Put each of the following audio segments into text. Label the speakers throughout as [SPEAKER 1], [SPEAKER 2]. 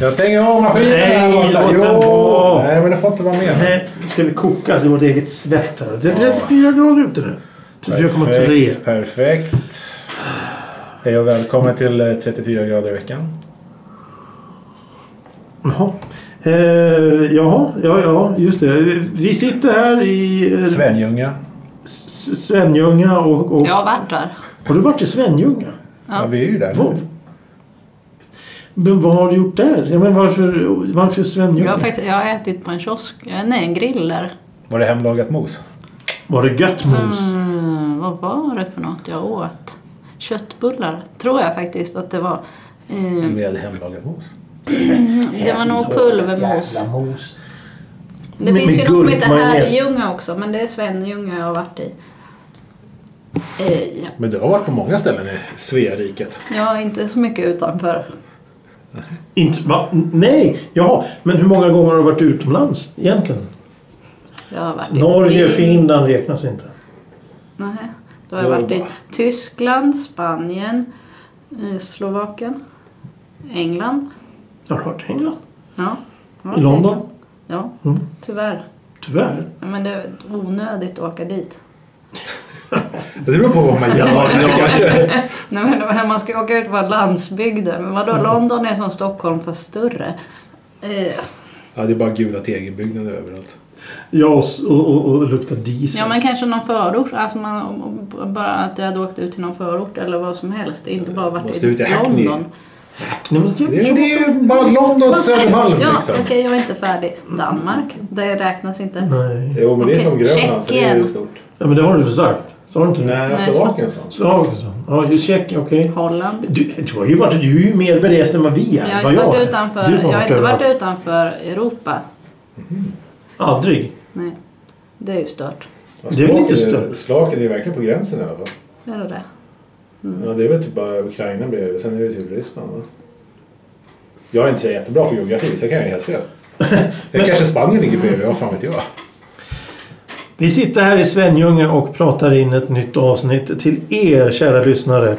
[SPEAKER 1] Jag stänger av maskinen
[SPEAKER 2] Nej, låt
[SPEAKER 1] Jo,
[SPEAKER 2] den på.
[SPEAKER 1] Nej, men det får inte vara med.
[SPEAKER 2] Nej, nu ska vi kokas i vårt eget svett här. Det är 34 grader ute nu. 34,3.
[SPEAKER 1] Perfekt, perfekt. Hej och välkommen till eh, 34 grader i veckan.
[SPEAKER 2] Jaha. Eh, jaha, ja, ja, just det. Vi sitter här i eh,
[SPEAKER 1] Svenljunga.
[SPEAKER 2] S- S- Svenljunga och... och
[SPEAKER 3] Jag har varit där.
[SPEAKER 2] Har du varit i Svenljunga?
[SPEAKER 1] Ja. vi är ju där
[SPEAKER 2] Vad?
[SPEAKER 1] nu.
[SPEAKER 2] Men vad har du gjort där? Ja, men varför, varför
[SPEAKER 3] Jag har,
[SPEAKER 2] Svenljunga?
[SPEAKER 3] faktiskt, jag har ätit på en kiosk. eh, Nej, en grill där.
[SPEAKER 1] Var det hemlagat mos?
[SPEAKER 2] Var det gött mos?
[SPEAKER 3] Mm, vad var det för något jag åt? Köttbullar, tror jag faktiskt att det var. Eh,
[SPEAKER 2] Mm.
[SPEAKER 1] Med hemlagat mos.
[SPEAKER 3] det var nog pulvermos.
[SPEAKER 4] mos.
[SPEAKER 3] Det
[SPEAKER 2] Med-
[SPEAKER 3] finns
[SPEAKER 2] med
[SPEAKER 3] ju något som heter
[SPEAKER 2] gurkmajonnäs.
[SPEAKER 3] Herrljunga också, men det är Svenljunga jag har varit i. Eh, ja.
[SPEAKER 1] Men du har varit på många ställen i Sveariket.
[SPEAKER 3] ja, inte så mycket utanför.
[SPEAKER 2] Inte, va? Nej, jaha. Men hur många gånger har du varit utomlands egentligen?
[SPEAKER 3] Jag har varit i
[SPEAKER 2] Norge,
[SPEAKER 3] Wien.
[SPEAKER 2] Finland räknas inte.
[SPEAKER 3] Nej, då har jag varit i Tyskland, Spanien, eh, Slovakien, England.
[SPEAKER 2] Jag har varit i England.
[SPEAKER 3] Ja. Ja,
[SPEAKER 2] I London.
[SPEAKER 3] Ja,
[SPEAKER 2] Mm.
[SPEAKER 3] tyvärr.
[SPEAKER 2] Tyvärr.
[SPEAKER 3] Ja, Men det är onödigt att åka dit.
[SPEAKER 1] Det beror på vad man gör. Kanske.
[SPEAKER 3] Nej, men det var här man ska åka ut på landsbygden. Men vadå, London är som Stockholm fast större. Eh,
[SPEAKER 1] ja, det är bara gula tegelbyggnader överallt.
[SPEAKER 2] Ja, och, s- och, och, och lukta diesel.
[SPEAKER 3] Ja men kanske någon förort. Alltså man, om- om- bara att jag hade åkt ut till någon förort eller vad som helst. Inte bara varit
[SPEAKER 1] Måste
[SPEAKER 3] i
[SPEAKER 1] ut i Hackney.
[SPEAKER 3] London.
[SPEAKER 2] Nej, men jag-
[SPEAKER 1] Det är, det är ju bara Londons Södermalm
[SPEAKER 3] Ja,
[SPEAKER 1] liksom.
[SPEAKER 3] okej jag är inte färdig. Danmark, det räknas inte.
[SPEAKER 2] Nej.
[SPEAKER 1] Jo, men det är som
[SPEAKER 3] Okej,
[SPEAKER 1] Grönland så det är ju
[SPEAKER 3] Tjeckien.
[SPEAKER 1] stort.
[SPEAKER 2] Ja, men det har du väl sagt? Sa du inte det?
[SPEAKER 1] Nej,
[SPEAKER 3] Nej,
[SPEAKER 1] Slovakien sa han.
[SPEAKER 2] Slag, så. Ja, just Tjeckien. Okej.
[SPEAKER 3] Holland.
[SPEAKER 2] Du, du har ju varit... Du är ju mer berest än vad vi är.
[SPEAKER 3] Jag har
[SPEAKER 2] vad
[SPEAKER 3] inte varit
[SPEAKER 2] är.
[SPEAKER 3] utanför,
[SPEAKER 2] Du har
[SPEAKER 3] jag har inte varit
[SPEAKER 2] överallt.
[SPEAKER 3] utanför Europa.
[SPEAKER 2] Aldrig.
[SPEAKER 3] Nej, det är ju stört.
[SPEAKER 2] Det är väl lite större.
[SPEAKER 1] Slovakien är ju verkligen på gränsen i alla fall.
[SPEAKER 3] Det är det.
[SPEAKER 1] Ja, det är väl typ bara Ukraina bredvid. Sen är det typ Ryssland va? Jag är inte så jättebra på geografi så jag kan jag ju helt fel. Det kanske Spanien ligger bredvid, vad fan vet jag?
[SPEAKER 2] Vi sitter här i Svenljunga och pratar in ett nytt avsnitt till er kära lyssnare.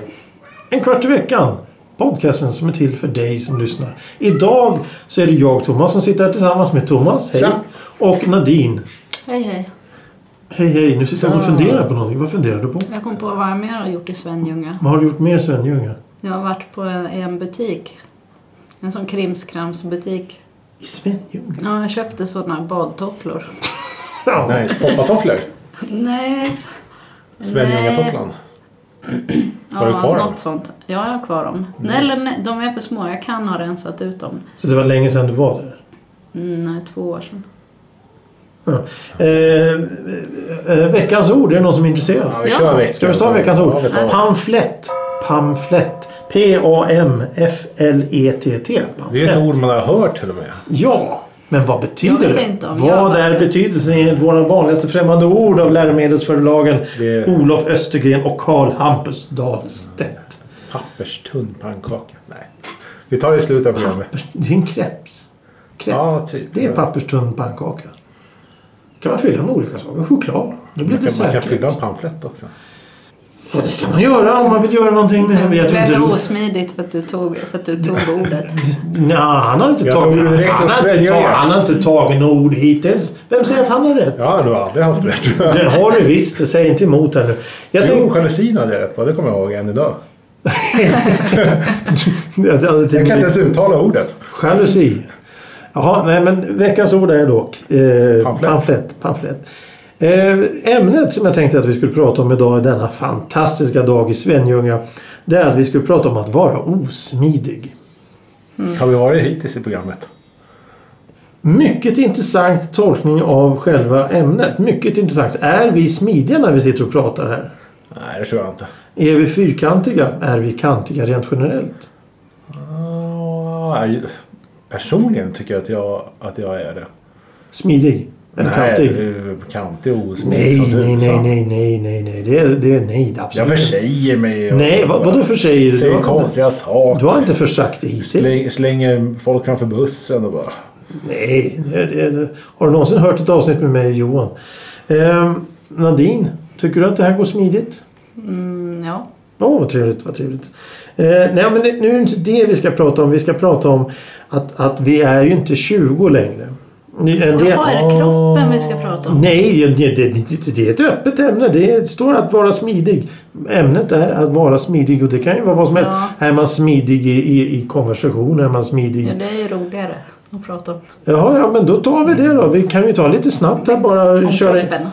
[SPEAKER 2] En kvart i veckan. Podcasten som är till för dig som lyssnar. Idag så är det jag Thomas som sitter här tillsammans med Thomas. Hej.
[SPEAKER 1] Tja.
[SPEAKER 2] Och Nadine.
[SPEAKER 3] Hej hej.
[SPEAKER 2] Hej hej. Nu sitter jag och funderar på någonting. Vad funderar du på?
[SPEAKER 3] Jag kom på vad jag mer har gjort i Svenljunga.
[SPEAKER 2] Vad har du gjort mer i Svenljunga?
[SPEAKER 3] Jag har varit på en, en butik. En sån krimskramsbutik.
[SPEAKER 2] I Svenljunga?
[SPEAKER 3] Ja, jag köpte såna badtofflor.
[SPEAKER 2] Ja.
[SPEAKER 1] Nice. Foppatofflor.
[SPEAKER 3] Nej.
[SPEAKER 1] Svenljungatofflan. Har du
[SPEAKER 3] ja,
[SPEAKER 1] kvar dem?
[SPEAKER 3] något sånt. Ja, jag har kvar dem. Nej, eller nej, de är för små. Jag kan ha rensat ut dem.
[SPEAKER 2] Så det var länge sedan du var där?
[SPEAKER 3] Mm, nej, två år sedan.
[SPEAKER 2] Ja. Eh, eh, veckans ord. Är det någon som är intresserad?
[SPEAKER 1] Ja, vi
[SPEAKER 3] Ja.
[SPEAKER 1] kör veckans
[SPEAKER 2] Ska vi ta veckans
[SPEAKER 1] Ja,
[SPEAKER 2] ord?
[SPEAKER 1] vi tar-
[SPEAKER 2] Pamflett. Pamflett. P-A-M-F-L-E-T-T.
[SPEAKER 1] Det är ju ett
[SPEAKER 2] E Pamflett.
[SPEAKER 1] ord man har hört till och med.
[SPEAKER 2] Ja, men vad betyder
[SPEAKER 3] Jag vet
[SPEAKER 2] det?
[SPEAKER 3] inte om jag
[SPEAKER 2] vad
[SPEAKER 3] har-
[SPEAKER 2] är betydelsen enligt våra vanligaste främmande ord av läromedelsförlagen
[SPEAKER 1] Det är-
[SPEAKER 2] Olof Östergren och Carl Hampus Dahlstedt?
[SPEAKER 1] Papperstunn pannkaka. Nej. Vi tar det i slutet av programmet.
[SPEAKER 2] Det är en kreps. Kreps.
[SPEAKER 1] Ja, typ.
[SPEAKER 2] Det är papperstunn pannkaka. Kan man fylla med olika saker. Choklad. Det
[SPEAKER 1] Man kan,
[SPEAKER 2] blir
[SPEAKER 1] man kan
[SPEAKER 2] dessertkreps.
[SPEAKER 1] fylla en pamflett också.
[SPEAKER 2] Ja, Det kan man göra om man vill göra någonting. Men jag
[SPEAKER 3] Det
[SPEAKER 2] tror
[SPEAKER 3] blev
[SPEAKER 2] inte...
[SPEAKER 3] osmidigt för att du tog, för att du tog ordet.
[SPEAKER 2] Nej, han har inte
[SPEAKER 1] Jag
[SPEAKER 2] tagit...
[SPEAKER 1] tog det direkt
[SPEAKER 2] han,
[SPEAKER 1] från
[SPEAKER 2] har inte
[SPEAKER 1] Sverige.
[SPEAKER 2] tagit han har inte tagit något ord hittills. Vem säger att han har rätt?
[SPEAKER 1] Ja, du har aldrig haft rätt.
[SPEAKER 2] Det har du visst. det. Säg inte emot här nu. Jag
[SPEAKER 1] Jo,
[SPEAKER 2] tänkte...
[SPEAKER 1] jalusin hade jag rätt på. Det kommer jag ihåg än idag.
[SPEAKER 2] Jag kan
[SPEAKER 1] Jag kan inte ens uttala ordet.
[SPEAKER 2] Jalusi. Jaha, nej men veckans ord är dock eh,
[SPEAKER 1] Pamflett.
[SPEAKER 2] pamflett. pamflett. Eh, ämnet som jag tänkte att vi skulle prata om idag denna fantastiska dag i Svenljunga. Det är att vi skulle prata om att vara osmidig. Mm.
[SPEAKER 1] Har vi varit hittills i programmet?
[SPEAKER 2] Mycket intressant tolkning av själva ämnet. Mycket intressant. Är vi smidiga när vi sitter och pratar här?
[SPEAKER 1] Nej, det tror jag inte.
[SPEAKER 2] Är vi fyrkantiga? Är vi kantiga rent generellt?
[SPEAKER 1] Ah, personligen tycker jag att jag, att jag är det.
[SPEAKER 2] Smidig? Eller kantig.
[SPEAKER 1] Nej, eh, kantig och osmidig
[SPEAKER 2] Nej,
[SPEAKER 1] som
[SPEAKER 2] nej, nej,
[SPEAKER 1] tusan.
[SPEAKER 2] nej, nej, nej, nej. Det är, det är nej, det är
[SPEAKER 1] Jag
[SPEAKER 2] absolut.
[SPEAKER 1] försäger mig. och-
[SPEAKER 2] Nej, vad, vadå försäger du?
[SPEAKER 1] Säger
[SPEAKER 2] Du har-
[SPEAKER 1] konstiga saker.
[SPEAKER 2] Du har inte försagt det hittills.
[SPEAKER 1] Släng, slänger folk framför bussen och bara...
[SPEAKER 2] Nej, det, det, det. Har du någonsin hört ett avsnitt med mig och Johan? Ehm, Nadine, tycker du att det här går smidigt?
[SPEAKER 3] Mm, ja.
[SPEAKER 2] Åh, vad trevligt, vad trevligt. Eh, nej, men det- nu är det inte det vi ska prata om. Vi ska prata om att, att vi är ju inte 20 längre. Ni- En del,
[SPEAKER 3] Jaha, är det kroppen vi ska prata om?
[SPEAKER 2] nej, det, det, det, det är ett öppet ämne. Det står att vara smidig. Ämnet är att vara smidig och det kan ju vara vad som helst.
[SPEAKER 3] Ja. Mm.
[SPEAKER 2] Är man smidig i, i, i konversation? Är man smidig
[SPEAKER 3] Ja, det är ju roligare att prata om.
[SPEAKER 2] Jaha, ja men då tar vi det då. Vi kan ju ta lite snabbt här bara.
[SPEAKER 3] Om
[SPEAKER 2] köra in-
[SPEAKER 3] kroppen.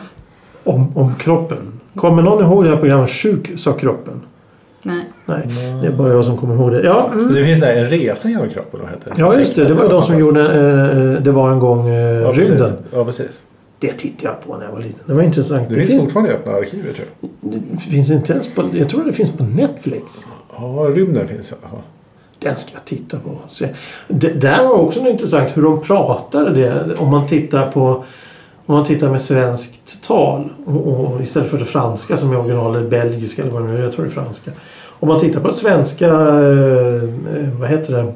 [SPEAKER 2] Om, om kroppen. Kommer någon ihåg det här programmet Sjuk sa kroppen?
[SPEAKER 3] Nej.
[SPEAKER 2] Nej, det är bara jag som kommer ihåg det. Ja, mm.
[SPEAKER 1] Det finns där en resa genom kroppen. Vad heter
[SPEAKER 2] ja just det. Det var ju de som gjorde eh, Det var en gång eh,
[SPEAKER 1] ja, precis.
[SPEAKER 2] rymden.
[SPEAKER 1] Ja, precis.
[SPEAKER 2] Det tittade jag på när jag var liten. Det var intressant.
[SPEAKER 1] Det,
[SPEAKER 2] Det,
[SPEAKER 1] finns,
[SPEAKER 2] finns,
[SPEAKER 1] fortfarande i öppna arkivet tror jag.
[SPEAKER 2] det finns inte ens på... Jag tror det finns på Netflix.
[SPEAKER 1] Ja, rymden finns i alla fall.
[SPEAKER 2] Den ska jag titta på. och Se. Det, där var också något intressant hur de pratade det. Om man tittar på om man tittar med svenskt tal och, och istället för det franska som är original eller belgiska eller vad det nu är. Jag tror det är franska. Om man tittar på svenska, eh, eh, vad heter det?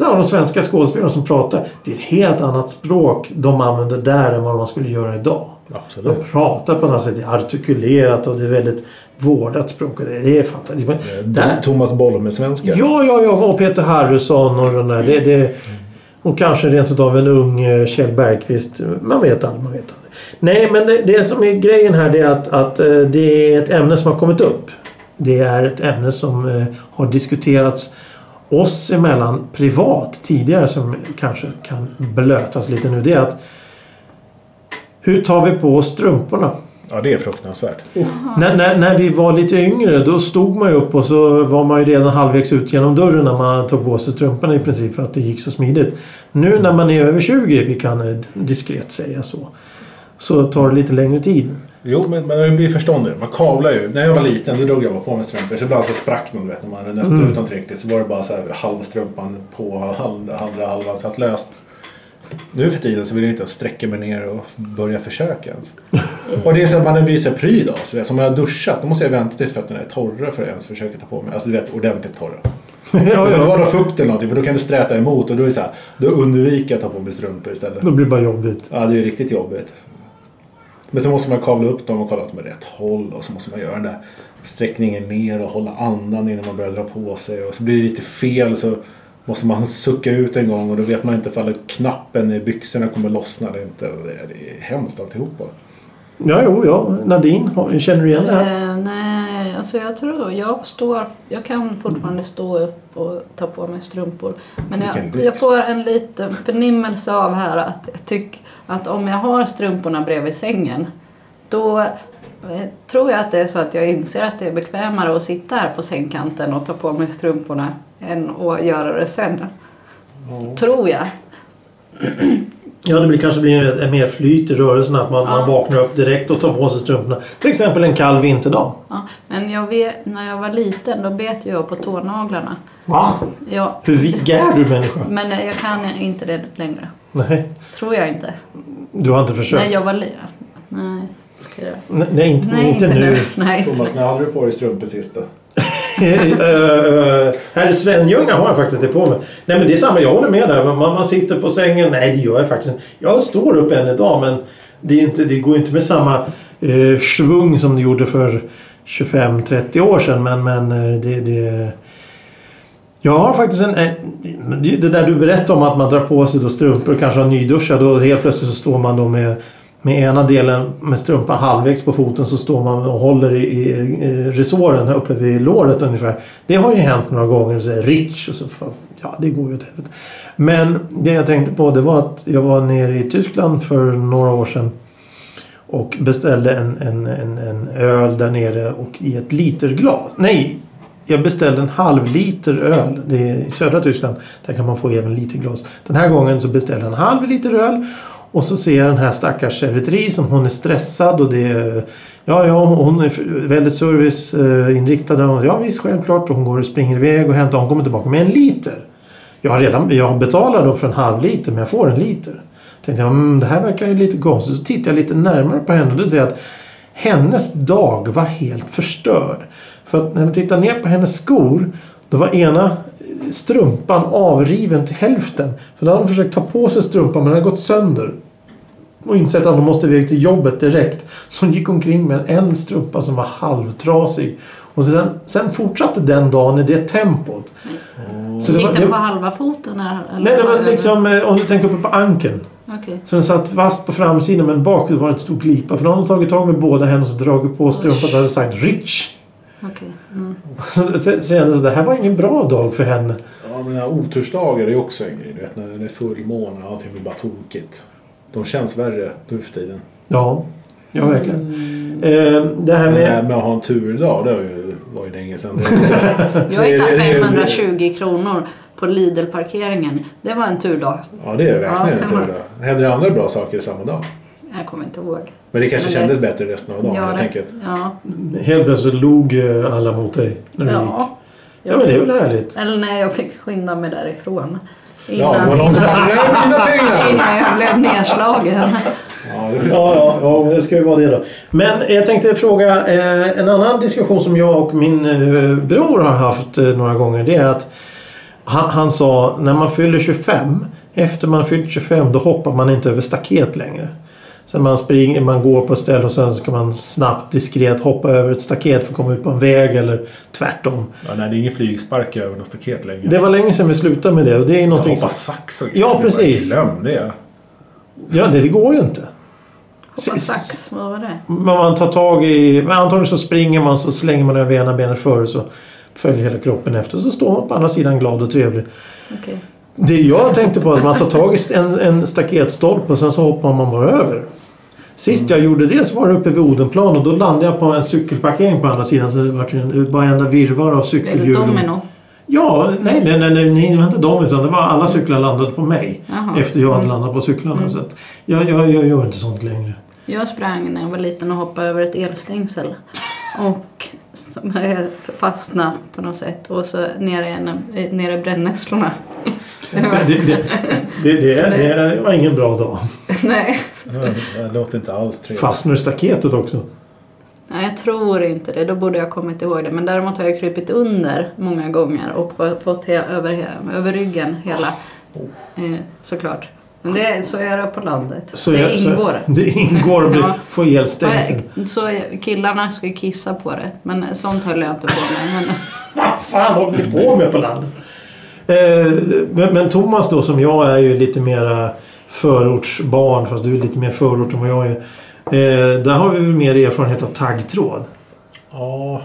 [SPEAKER 2] Ja, de svenska skådespelarna som pratar. Det är ett helt annat språk de använder där än vad man skulle göra idag. De
[SPEAKER 1] Absolut.
[SPEAKER 2] pratar på något sätt, det är artikulerat och det är väldigt vårdat språk. och Det är fantastiskt. Men där-
[SPEAKER 1] Thomas Bolme-svenska.
[SPEAKER 2] Ja, ja, ja. Och Peter Harrison och den där. Det, det, och kanske rent utav en ung eh, Kjell Bergqvist. Man vet aldrig, man vet aldrig. Nej, men det, det som är grejen här det är att, att eh, det är ett ämne som har kommit upp. Det är ett ämne som eh, har diskuterats oss emellan privat tidigare som kanske kan blötas lite nu. Det är att hur tar vi på oss strumporna?
[SPEAKER 1] Ja, det är fruktansvärt.
[SPEAKER 2] När, när, när vi var lite yngre då stod man ju upp och så var man ju redan halvvägs ut genom dörren när man tog på sig strumporna i princip för att det gick så smidigt. Nu när man är över 20, vi kan eh, diskret säga så, så tar det lite längre tid.
[SPEAKER 1] Jo, men man blir förståndig. Man kavlar ju. När jag var liten då drog jag bara på mig strumpor. Så ibland så sprack någon, du vet, när man nötte
[SPEAKER 2] Mm.
[SPEAKER 1] ut dem tillräckligt. Så var det bara så här halvstrumpan på, halv- andra halvan satt löst. Nu för tiden så vill jag inte sträcka mig ner och börja försöka ens. Och det är så att man blir så här pryd av sig. Som när jag har duschat, då måste jag vänta tills fötterna är torra för att jag ens försöka ta på mig. Alltså du vet, ordentligt torra.
[SPEAKER 2] ja,
[SPEAKER 1] Det får inte
[SPEAKER 2] ja.
[SPEAKER 1] vara någon fukt eller någonting för då kan det sträta emot och då är det så här, då undviker jag att ta på mig strumpor istället.
[SPEAKER 2] Då blir det bara jobbigt.
[SPEAKER 1] Ja, det är riktigt jobbigt. Men så måste man kavla upp dem och kolla att de är rätt håll och så måste man göra den där sträckningen ner och hålla andan innan man börjar dra på sig och så blir det lite fel så måste man sucka ut en gång och då vet man inte ifall knappen i byxorna kommer lossna eller inte. Och Det är det är hemskt alltihopa.
[SPEAKER 2] Ja, jo, ja. Nadine, har- känner du igen det här?
[SPEAKER 3] Eh, nej, alltså jag tror jag står, jag kan fortfarande stå upp och ta på mig strumpor. Men
[SPEAKER 1] Vilken
[SPEAKER 3] jag,
[SPEAKER 1] lyx.
[SPEAKER 3] jag får en liten förnimmelse av här att jag tycker att om jag har strumporna bredvid sängen då eh, tror jag att det är så att jag inser att det är bekvämare att sitta här på sängkanten och ta på mig strumporna än att göra det sen. Tror jag.
[SPEAKER 2] Ja, det blir, kanske blir ett, ett mer flyt i rörelsen att man, man vaknar upp direkt och tar på sig strumporna. Till exempel en kall vinterdag.
[SPEAKER 3] Ja. Men jag vet, när jag var liten då bet jag på tånaglarna.
[SPEAKER 2] Va?
[SPEAKER 3] Ja,
[SPEAKER 2] Hur vig är du människa?
[SPEAKER 3] men eh, jag kan inte det längre.
[SPEAKER 2] Nej,
[SPEAKER 3] Tror jag inte.
[SPEAKER 2] du har inte försökt.
[SPEAKER 3] Nej, jag var li- Nej, ska jag
[SPEAKER 2] Nej, nej, inte,
[SPEAKER 3] Nej,
[SPEAKER 2] inte nu.
[SPEAKER 3] Nej, inte nu.
[SPEAKER 1] Thomas, när hade du på dig strumpor sist då?
[SPEAKER 2] Eh, Här i Svenljunga har jag faktiskt det på mig. Nej men det är samma, jag håller med där. Man, man man sitter på sängen. Nej det gör jag faktiskt inte. Jag står upp än idag men det, är inte, det går inte med samma eh, svung som det gjorde för 25-30 år sedan. Men, men eh, det, det... Jag har faktiskt en... eh, Det det där du berättade om att man drar på sig då strumpor och kanske har nyduschad och helt plötsligt så står man då med med ena delen med strumpan halvvägs på foten så står man och håller i, i, i resåren här uppe vid låret ungefär. Det har ju hänt några gånger. Så här, rich och så. fan, Ja, det går ju åt helvete. Men det jag tänkte på det var att jag var nere i Tyskland för några år sedan. Och beställde en, en, en, en öl där nere och i ett literglas. Nej! Jag beställde en halv liter öl. Det är i södra Tyskland. Där kan man få även literglas. Den här gången så beställde jag en halv liter öl. Och så ser jag den här stackars servitris som hon är stressad och det är... Ja, ja, hon är väldigt serviceinriktad. Och Ja, visst, självklart. Och hon går och springer iväg och hämtar. Hon kommer tillbaka med en liter. Jag har redan jag har betalat då för en halv liter men jag får en liter. Tänkte jag, mm, det här verkar ju lite konstigt. Så tittar jag lite närmare på henne och då ser jag att hennes dag var helt förstörd. För att när man tittar ner på hennes skor, då var ena strumpan avriven till hälften. För då hade hon försökt ta på sig strumpan men den hade gått sönder. Och insett att hon måste iväg till jobbet direkt. Så hon gick omkring med en strumpa som var halvtrasig. Och sen, sen fortsatte den dagen i det tempot. Så det
[SPEAKER 3] Gick
[SPEAKER 2] var-
[SPEAKER 3] den
[SPEAKER 2] det-
[SPEAKER 3] på halva foten? Eller,
[SPEAKER 2] Nej, det var
[SPEAKER 3] eller-
[SPEAKER 2] liksom eh, om du tänker uppe på ankeln.
[SPEAKER 3] Okej.
[SPEAKER 2] Så den satt fast på framsidan men bakut var det ett stor glipa. För då hade hon tagit tag med båda händerna och så dragit på strumpan och hade sagt Rich!
[SPEAKER 3] okej. Mm.
[SPEAKER 2] Så jag kände att det här var ingen bra dag för henne.
[SPEAKER 1] Ja, men otursdagar är ju också en grej. Du vet, när det är fullmåne och allting blir bara tokigt. De känns värre nu för tiden.
[SPEAKER 2] Ja, ja verkligen.
[SPEAKER 3] Mm.
[SPEAKER 2] Eh, det här
[SPEAKER 1] Men det här
[SPEAKER 2] med...
[SPEAKER 1] med att ha en turdag, det var ju, var ju länge sedan.
[SPEAKER 3] Jag
[SPEAKER 1] Det-
[SPEAKER 3] hittade
[SPEAKER 1] det-
[SPEAKER 3] 520 kronor på Lidl-parkeringen. Det var en turdag.
[SPEAKER 1] Ja, det är verkligen
[SPEAKER 3] Ja,
[SPEAKER 1] en
[SPEAKER 3] det var-
[SPEAKER 1] turdag. Händer det andra bra saker samma dag?
[SPEAKER 3] Jag kommer inte ihåg.
[SPEAKER 1] Men det kanske
[SPEAKER 3] Men det-
[SPEAKER 1] kändes bättre resten av dagen.
[SPEAKER 3] ja,
[SPEAKER 1] jag
[SPEAKER 3] det-
[SPEAKER 1] tänker att
[SPEAKER 3] ja.
[SPEAKER 2] Helt plötsligt log eh, alla mot dig när du gick.
[SPEAKER 3] ja.
[SPEAKER 2] Ja, men det är väl härligt.
[SPEAKER 3] Eller när jag fick skynda mig därifrån.
[SPEAKER 1] Ja,
[SPEAKER 3] Innan,
[SPEAKER 1] det var någon som
[SPEAKER 3] innan,
[SPEAKER 1] "Nej, mina pengar!
[SPEAKER 3] innan jag blev nedslagen.
[SPEAKER 1] Ja, det
[SPEAKER 2] Ja, ja, ja, men det ska ju vara det då. Men jag tänkte fråga eh, en annan diskussion som jag och min eh, bror har haft eh, några gånger. Det är att han, han sa när man fyller 25, efter man fyllt 25 då hoppar man inte över staket längre. Så man, springer, man går på ett ställe och sen så kan man snabbt diskret hoppa över ett staket för att komma ut på en väg eller tvärtom.
[SPEAKER 1] Ja, nej, det är ingen flygspark över något staket längre.
[SPEAKER 2] Det var länge sedan vi slutade med det och det är
[SPEAKER 1] Så
[SPEAKER 2] någonting
[SPEAKER 1] hoppa
[SPEAKER 2] som...
[SPEAKER 1] sax och
[SPEAKER 2] Ja,
[SPEAKER 1] grejer.
[SPEAKER 2] precis.
[SPEAKER 1] Glöm det.
[SPEAKER 2] Ja, det, det går ju inte.
[SPEAKER 3] Hoppa sax, vad var det?
[SPEAKER 2] Men man tar tag i... Men antagligen så springer man så slänger man över ena benet före så följer hela kroppen efter. Så står man på andra sidan glad och trevlig.
[SPEAKER 3] Okej.
[SPEAKER 2] Det jag tänkte på är att man tar tag i en, en staketstolpe och sen så hoppar man bara över. Sist jag gjorde det så var det uppe vid Odenplan och då landade jag på en cykelparkering på andra sidan så det var en, bara en enda virrvarr av
[SPEAKER 3] Blev
[SPEAKER 2] cykelhjul.
[SPEAKER 3] det domino?
[SPEAKER 2] Ja, nej, nej, nej, nej, nej, det var inte dem utan det var alla cyklar landade på mig.
[SPEAKER 3] Jaha. Mm.
[SPEAKER 2] Efter jag hade landat på cyklarna. Så att jag, jag, jag gör inte sånt längre.
[SPEAKER 3] Jag sprang när jag var liten och hoppade över ett elstängsel. Och som- eh, fastnade på något sätt. Och så nere i, en- eh, nere i brännässlorna. Det
[SPEAKER 2] Det,
[SPEAKER 3] var-
[SPEAKER 2] det, det, det, det var ingen bra dag.
[SPEAKER 3] Nej.
[SPEAKER 1] Det låter inte alls trevligt.
[SPEAKER 2] Fastnar i staketet också.
[SPEAKER 3] Nej, jag tror inte det. Då borde jag ha kommit ihåg det. Men däremot har jag krypit under många gånger och fa- fått he- över, he- över ryggen hela. Eh, såklart. Men det, så är det på landet.
[SPEAKER 2] Så
[SPEAKER 3] det
[SPEAKER 2] jag- så-
[SPEAKER 3] ingår.
[SPEAKER 2] Det ingår att bli,
[SPEAKER 3] Ja.
[SPEAKER 2] få elstängsel.
[SPEAKER 3] Så, jag- killarna ska ju kissa på det. Men sånt höll jag inte på med. Men,
[SPEAKER 2] Vad fan håller ni på med på landet? Eh, men, men Thomas då som jag är ju lite mera förortsbarn fast du är lite mer förort än vad jag är. Eh, där har vi väl mer erfarenhet av taggtråd.
[SPEAKER 1] Ja,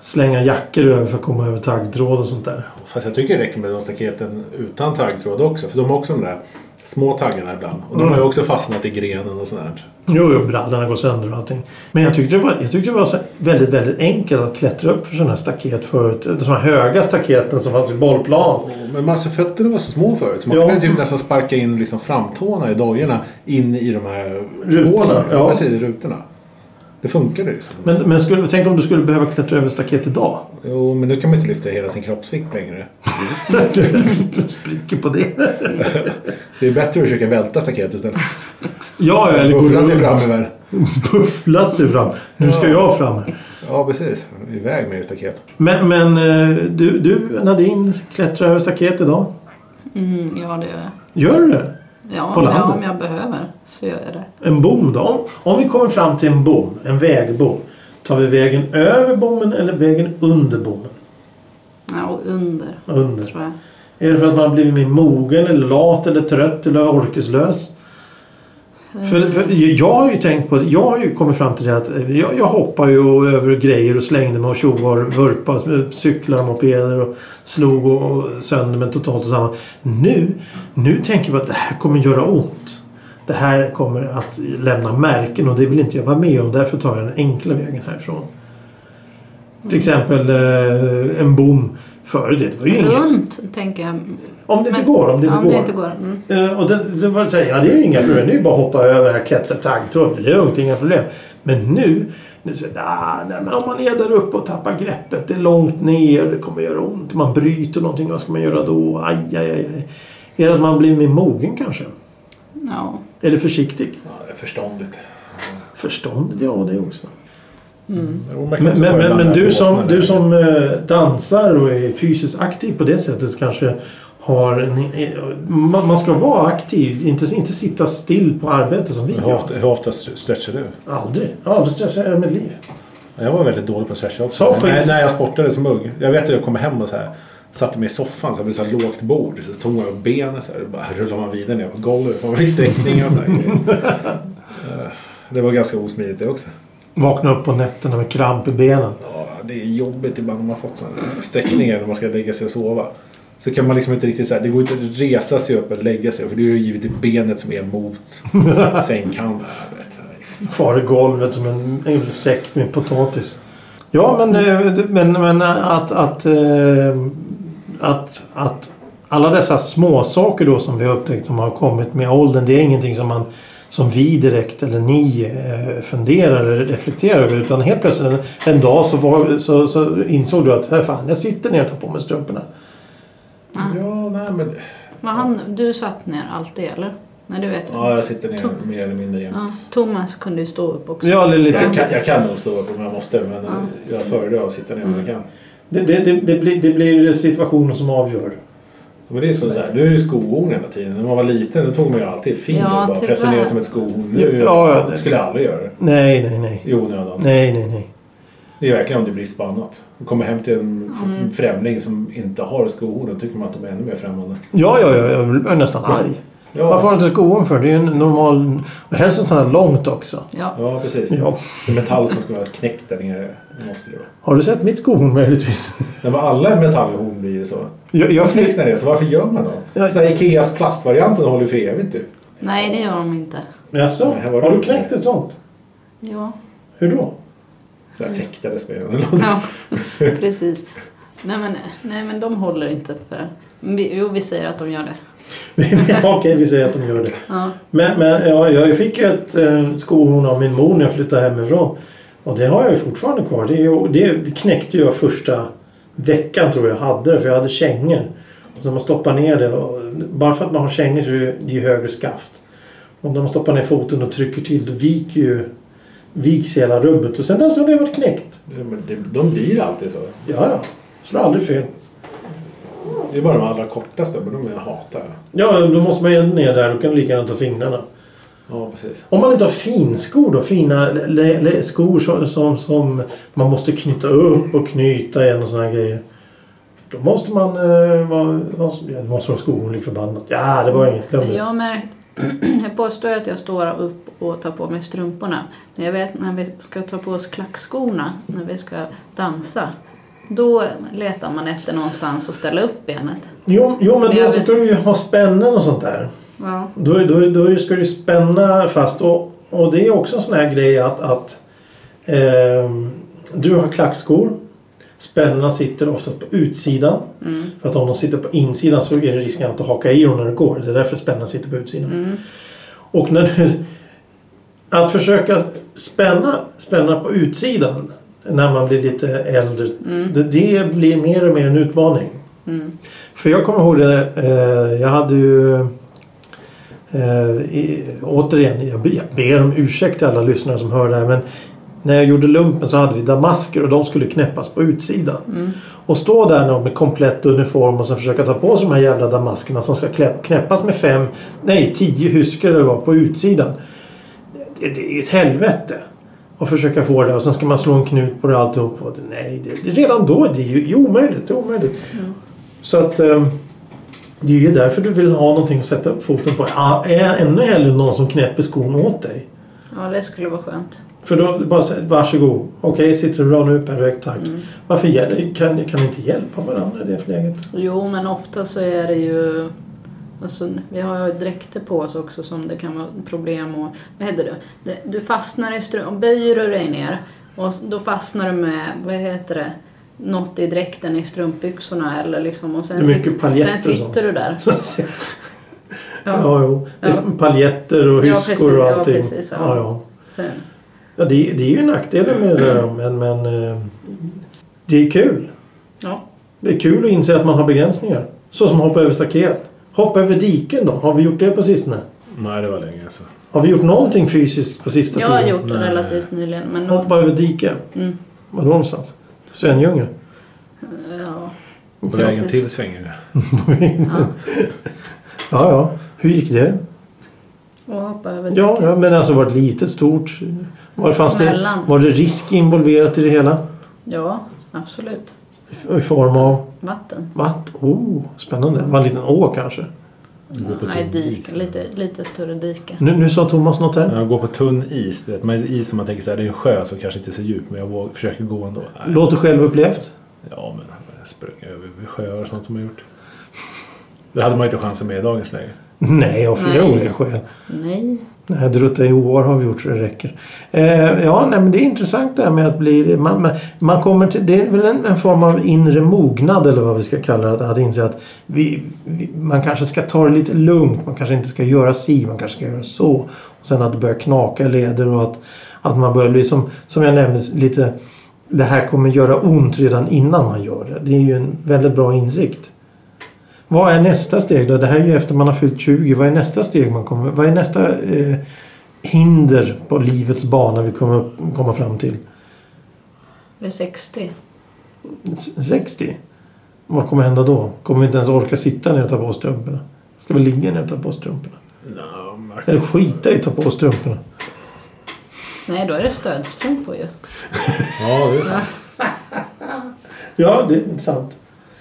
[SPEAKER 2] Slänga jackor över för att komma över taggtråd och sånt där.
[SPEAKER 1] fast jag tycker det räcker med de staketen utan taggtråd också. För de har också de där små taggarna ibland. Och de har ju
[SPEAKER 2] Mm.
[SPEAKER 1] också fastnat i grenen och sånt
[SPEAKER 2] Jo, jo, brallorna går sönder och allting. Men jag tyckte det var, jag tyckte det var så väldigt, väldigt enkelt att klättra upp för sådana här staket förut. Sådana här höga staketen som fanns vid bollplan.
[SPEAKER 1] Men alltså fötterna var så små förut. Så man
[SPEAKER 2] Ja.
[SPEAKER 1] kunde typ nästan sparka in liksom framtårna i dojorna in i de här
[SPEAKER 2] Rutorna,
[SPEAKER 1] hålen.
[SPEAKER 2] ja.
[SPEAKER 1] Precis, rutorna. Det funkade liksom.
[SPEAKER 2] Men, men skulle, tänk om du skulle behöva klättra över staket idag.
[SPEAKER 1] Jo, men nu kan man inte lyfta hela sin kroppsvikt längre.
[SPEAKER 2] du spricker på det.
[SPEAKER 1] Det är bättre att försöka välta staketet istället.
[SPEAKER 2] Ja, ja, eller går
[SPEAKER 1] Buffla
[SPEAKER 2] runt.
[SPEAKER 1] sig fram i världen.
[SPEAKER 2] Buffla sig fram. Nu ska jag fram.
[SPEAKER 1] Ja, precis. Iväg med staket.
[SPEAKER 2] Men, men eh, du, du Nadine, klättrar över staket idag.
[SPEAKER 3] mm, ja, det gör jag.
[SPEAKER 2] Gör du det?
[SPEAKER 3] Ja,
[SPEAKER 2] På landet?
[SPEAKER 3] ja, om jag behöver så gör jag det.
[SPEAKER 2] En bom då? Om, om vi kommer fram till en bom, en vägbom. Tar vi vägen över bommen eller vägen under bommen?
[SPEAKER 3] Ja, och under,
[SPEAKER 2] Under.
[SPEAKER 3] tror jag.
[SPEAKER 2] Är det för att man har blivit mer mogen eller lat eller trött eller orkeslös? För, för jag har ju tänkt på det. Jag har ju kommit fram till det att eh, jag, jag hoppar ju och över grejer och slängde mig och tjoar, vurpar, cyklar, mopeder och slog och, och sönder mig totalt och samma. Nu, nu tänker jag att det här kommer göra ont. Det här kommer att lämna märken och det vill inte jag vara med om. Därför tar jag den enkla vägen härifrån. Till exempel eh, en bom. Före det, det var ju inget.
[SPEAKER 3] Runt, tänker jag.
[SPEAKER 2] Om det inte
[SPEAKER 3] Men-
[SPEAKER 2] går, om det
[SPEAKER 3] Ja,
[SPEAKER 2] inte
[SPEAKER 3] om det
[SPEAKER 2] går.
[SPEAKER 3] inte går. Mm.
[SPEAKER 2] Eh, och det, det var så här, ja det är ju inga problem. Det är ju bara att hoppa över här, klättra taggtråd. Det är lugnt, inga problem. Men nu, nu så, ah, nej, men om man är där uppe och tappar greppet. Det är långt ner, det kommer göra ont. Man bryter någonting, vad ska man göra då? Aj, aj, aj. aj. Är det att man blir mer mogen kanske?
[SPEAKER 3] Ja.
[SPEAKER 2] Eller försiktig.
[SPEAKER 1] Ja, det är förståndigt.
[SPEAKER 2] Förstånd, ja det också.
[SPEAKER 1] Jo, man kan
[SPEAKER 2] Men,
[SPEAKER 1] också
[SPEAKER 2] men,
[SPEAKER 1] börja
[SPEAKER 2] men, men
[SPEAKER 1] blanda
[SPEAKER 2] du
[SPEAKER 1] på såna
[SPEAKER 2] som,
[SPEAKER 1] där.
[SPEAKER 2] du som eh, dansar och är fysiskt aktiv på det sättet kanske har en, eh, man, man ska vara aktiv, inte, inte sitta still på arbetet som vi
[SPEAKER 1] Hur
[SPEAKER 2] gör.
[SPEAKER 1] ofta, hur ofta st- stretchar du?
[SPEAKER 2] Aldrig. Jag har aldrig stressat i hela mitt liv.
[SPEAKER 1] Jag var väldigt dålig på att stretcha
[SPEAKER 2] Så
[SPEAKER 1] också. Men
[SPEAKER 2] skit.
[SPEAKER 1] När, när jag sportade som ung. Jag vet att jag kom hem och så här, satte mig i soffan så här, vid så här lågt bord. Så tog man upp benen så här, bara rullade man vidare ner på golvet. Man fick sträckningar och sådär. Det var ganska osmidigt det också.
[SPEAKER 2] Vakna upp på nätterna med kramp i benen.
[SPEAKER 1] Ja, det är jobbigt ibland när man fått sådana sträckningar när man ska lägga sig och sova. Så kan man liksom inte riktigt så här, det går inte att resa sig upp eller lägga sig för det är ju givet i benet som är mot sängkanten. Jag vet,
[SPEAKER 2] Far i golvet som en, en säck med potatis. Ja, men, eh, det- men, men att, att, eh, att, att alla dessa små saker då som vi har upptäckt som har kommit med åldern. Det är ingenting som man som vi direkt eller ni eh, funderar eller reflekterar över. Utan helt plötsligt en, en dag så, var, så, så insåg du att här fan, jag sitter ner och tar på mig strumporna.
[SPEAKER 1] Ja, nej men.
[SPEAKER 3] Men han, du satt ner alltid eller? Nej du vet.
[SPEAKER 1] Ja, jag sitter ner mer eller mindre jämt.
[SPEAKER 3] Ja, Thomas kunde ju stå upp också.
[SPEAKER 2] Ja, eller lite,
[SPEAKER 1] Jag kan, jag kan nog stå upp om jag måste men jag föredrar att sitta ner om jag
[SPEAKER 2] Mm.
[SPEAKER 1] kan.
[SPEAKER 2] det, det, det, det, blir, det blir situationen som avgör.
[SPEAKER 1] Men det är så där, nu är det skohorn hela tiden. När man var liten då tog man ju alltid finger
[SPEAKER 3] Ja,
[SPEAKER 1] och bara
[SPEAKER 3] tyvärr.
[SPEAKER 1] pressade ner som ett skohorn. Nu
[SPEAKER 2] Ja, ja, det-
[SPEAKER 1] skulle jag aldrig göra det.
[SPEAKER 2] Nej, nej, nej.
[SPEAKER 1] I onödan.
[SPEAKER 2] Nej, nej, nej.
[SPEAKER 1] Det är verkligen om det blir spannat. Du kommer hem till en f-
[SPEAKER 3] Mm.
[SPEAKER 1] främling som inte har skohorn. Då tycker man att de är ännu mer främmande.
[SPEAKER 2] Ja, ja, ja, jag blir nästan arg.
[SPEAKER 1] Ja,
[SPEAKER 2] Varför har du inte skon för? Det är ju en normal... och Helst en sån här långt också.
[SPEAKER 3] Ja.
[SPEAKER 1] ja precis.
[SPEAKER 2] Ja.
[SPEAKER 1] Det är metall som ska vara knäckt där nere. Det måste det vara.
[SPEAKER 2] Har du sett mitt skohorn möjligtvis?
[SPEAKER 1] Nej, men alla metallhorn blir ju så.
[SPEAKER 2] Jag, jag
[SPEAKER 1] Jag
[SPEAKER 2] flyg...
[SPEAKER 1] fnissar det, så varför gör man
[SPEAKER 2] Ja.
[SPEAKER 1] då? Sådana Ikeas plastvarianten håller ju för evigt typ.
[SPEAKER 3] Nej det gör de inte.
[SPEAKER 2] Jaså? Har du knäckt ett sånt?
[SPEAKER 3] Ja.
[SPEAKER 2] Hur då?
[SPEAKER 1] Så
[SPEAKER 3] Mm.
[SPEAKER 1] här fäktades med den eller något.
[SPEAKER 3] Ja, precis. Nej men, nej men de håller inte för det. Men vi- Jo, vi säger att de gör det.
[SPEAKER 2] Okej, vi säger att de gör det.
[SPEAKER 3] Ja.
[SPEAKER 2] Men, men ja, jag fick ju ett eh, skohorn av min mor när jag flyttade hemifrån. Och det har jag ju fortfarande kvar. Det, är ju, det, det knäckte jag första veckan tror jag jag hade det. För jag hade kängor. Och så man stoppar ner det. Och, bara för att man har kängor så är det det är ju högre skaft. Och när man stoppar ner foten och trycker till då viker ju viks hela rubbet. Och sen dess har det varit knäckt.
[SPEAKER 1] Ja, men det- De blir alltid så.
[SPEAKER 2] Ja, ja. Slår aldrig fel.
[SPEAKER 1] Det är bara de allra kortaste, men de jag hatar jag.
[SPEAKER 2] Ja, då måste man ju ner där. Då kan du lika gärna ta fingrarna.
[SPEAKER 1] Ja, precis.
[SPEAKER 2] Om man inte har finskor då, fina le, le, skor som, som, som man måste knyta upp och knyta igen och såna här grejer. Då måste man eh, vara... vara- Ja, det måste vara skohorn lik förbannat. Ja, det var inget. Glöm det.
[SPEAKER 3] Jag, märkt, jag påstår att jag står upp och tar på mig strumporna. Men jag vet när vi ska ta på oss klackskorna, när vi ska dansa. Då letar man efter någonstans att ställa upp benet.
[SPEAKER 2] Jo, jo, men
[SPEAKER 3] Men jag
[SPEAKER 2] då
[SPEAKER 3] vet-
[SPEAKER 2] ska du ju ha spännen och sånt där.
[SPEAKER 3] Ja.
[SPEAKER 2] Då, då, då ska du spänna fast och, och det är också en sån här grej att, att ehm, du har klackskor. Spännena sitter ofta på utsidan.
[SPEAKER 3] Mm.
[SPEAKER 2] För att om de sitter på insidan så är det risken att du hakar i dem när du går. Det är därför spännena sitter på utsidan.
[SPEAKER 3] Mm.
[SPEAKER 2] Och när du, att försöka spänna, spänna på utsidan när man blir lite äldre. Det, det blir mer och mer en utmaning.
[SPEAKER 3] Mm.
[SPEAKER 2] För jag kommer ihåg det. Eh, jag hade ju... Eh, i, återigen, jag, be- jag ber om ursäkt till alla lyssnare som hör det här. Men när jag gjorde lumpen så hade vi damasker och de skulle knäppas på utsidan. Och stå där någon med komplett uniform och sen försöka ta på sig de här jävla damaskerna som ska klä, knäppas med fem, nej tio hyskor eller vad på utsidan. Det, det är ett helvete. Och försöka få det och sen ska man slå en knut på det alltihop. Och det, nej, det, det, redan då det är ju det är omöjligt. Det är omöjligt. Så att eh, det är ju därför du vill ha någonting att sätta upp foten på. Ah, Är ännu hellre någon som knäpper skon åt dig.
[SPEAKER 3] ja, det skulle vara skönt.
[SPEAKER 2] För då bara säger varsågod. Okej, sitter det bra nu? Perfekt, tack.
[SPEAKER 3] Mm.
[SPEAKER 2] Varför hjäl- kan, kan ni inte hjälpa varandra i det läget?
[SPEAKER 3] Jo, men ofta så är det ju... Alltså, vi har ju dräkter på oss också som det kan vara problem och... Vad heter det? det? Du fastnar i strumpan, böjer du dig ner och då fastnar du med, vad heter det, något i dräkten i strumpbyxorna eller liksom och
[SPEAKER 2] Det
[SPEAKER 3] sen,
[SPEAKER 2] är mycket paljetter
[SPEAKER 3] sen
[SPEAKER 2] och sånt.
[SPEAKER 3] sitter du där.
[SPEAKER 2] Så att säga. Ja, jo. Det är
[SPEAKER 3] Ja.
[SPEAKER 2] Paljetter och
[SPEAKER 3] Ja,
[SPEAKER 2] hyskor
[SPEAKER 3] precis,
[SPEAKER 2] och
[SPEAKER 3] ja,
[SPEAKER 2] allting.
[SPEAKER 3] precis, ja.
[SPEAKER 2] ja, ja.
[SPEAKER 3] Sen,
[SPEAKER 2] ja det, det är ju nackdelen med det där. Men, men eh, det är kul.
[SPEAKER 3] ja.
[SPEAKER 2] Det är kul att inse att man har begränsningar. Så som hoppa över staket. Hoppa över diken då? Har vi gjort det på sistone?
[SPEAKER 1] Nej, det var länge alltså. så.
[SPEAKER 2] Har vi gjort någonting fysiskt på sista
[SPEAKER 3] Jag
[SPEAKER 2] tiden?
[SPEAKER 3] har gjort det
[SPEAKER 1] Nej.
[SPEAKER 3] relativt nyligen. Men
[SPEAKER 2] Hoppa över dike?
[SPEAKER 3] Mm.
[SPEAKER 2] Var då någonstans? Svenljunga?
[SPEAKER 3] ja,
[SPEAKER 1] På
[SPEAKER 3] Precis.
[SPEAKER 1] vägen till svänger det.
[SPEAKER 3] ja.
[SPEAKER 2] Ja, ja. Hur gick det?
[SPEAKER 3] Och hoppa över
[SPEAKER 2] Ja,
[SPEAKER 3] diken.
[SPEAKER 2] ja men alltså var det litet, stort? Var, fanns det,
[SPEAKER 3] Mellan.
[SPEAKER 2] var det risk involverat i det hela?
[SPEAKER 3] ja, absolut.
[SPEAKER 2] I- I form av
[SPEAKER 3] Vatten.
[SPEAKER 2] vatt? Oh, spännande. Var en liten å kanske?
[SPEAKER 1] Gå på
[SPEAKER 3] Nej,
[SPEAKER 1] tunn
[SPEAKER 3] dike.
[SPEAKER 1] is.
[SPEAKER 3] Lite, lite större dike.
[SPEAKER 2] Nu, nu sa Thomas något
[SPEAKER 1] När
[SPEAKER 2] här.
[SPEAKER 1] jag går på tunn is, du vet, man is som man tänker så här, det är en sjö som kanske inte är så djup men jag vågar, försöker gå ändå. Nej.
[SPEAKER 2] Låter självupplevt.
[SPEAKER 1] Ja men jag sprang över sjöar och sånt som jag gjort. Det hade man inte chansen med i dagens läge.
[SPEAKER 2] Nej, av flera
[SPEAKER 3] Nej.
[SPEAKER 2] olika skäl.
[SPEAKER 3] Nej.
[SPEAKER 2] Nej, drutta i år har vi gjort så det räcker. Eh, ja, nej, men det är intressant det här med att bli... Man, man- man kommer till, det är väl en, en form av inre mognad eller vad vi ska kalla det. Att, att inse att vi, vi, man kanske ska ta det lite lugnt. Man kanske inte ska göra si, man kanske ska göra så. Och sen att det börjar knaka i leder och att, att man börjar bli som, som jag nämnde lite... Det här kommer göra ont redan innan man gör det. Det är ju en väldigt bra insikt. Vad är nästa steg då? Det här är ju efter man har fyllt 20. Vad är nästa steg man kommer... Vad är nästa eh, hinder på livets bana vi kommer upp- komma fram till?
[SPEAKER 3] Det är 60.
[SPEAKER 2] S- 60? Vad kommer hända då? Kommer vi inte ens orka sitta ner och ta på oss strumporna? Ska vi ligga ner och ta på oss strumporna?
[SPEAKER 1] No,
[SPEAKER 2] Eller skita i att ta på oss strumporna?
[SPEAKER 3] Nej, då är det stödstrumpor ju.
[SPEAKER 1] Ja, det är sant.
[SPEAKER 2] Ja, det är sant.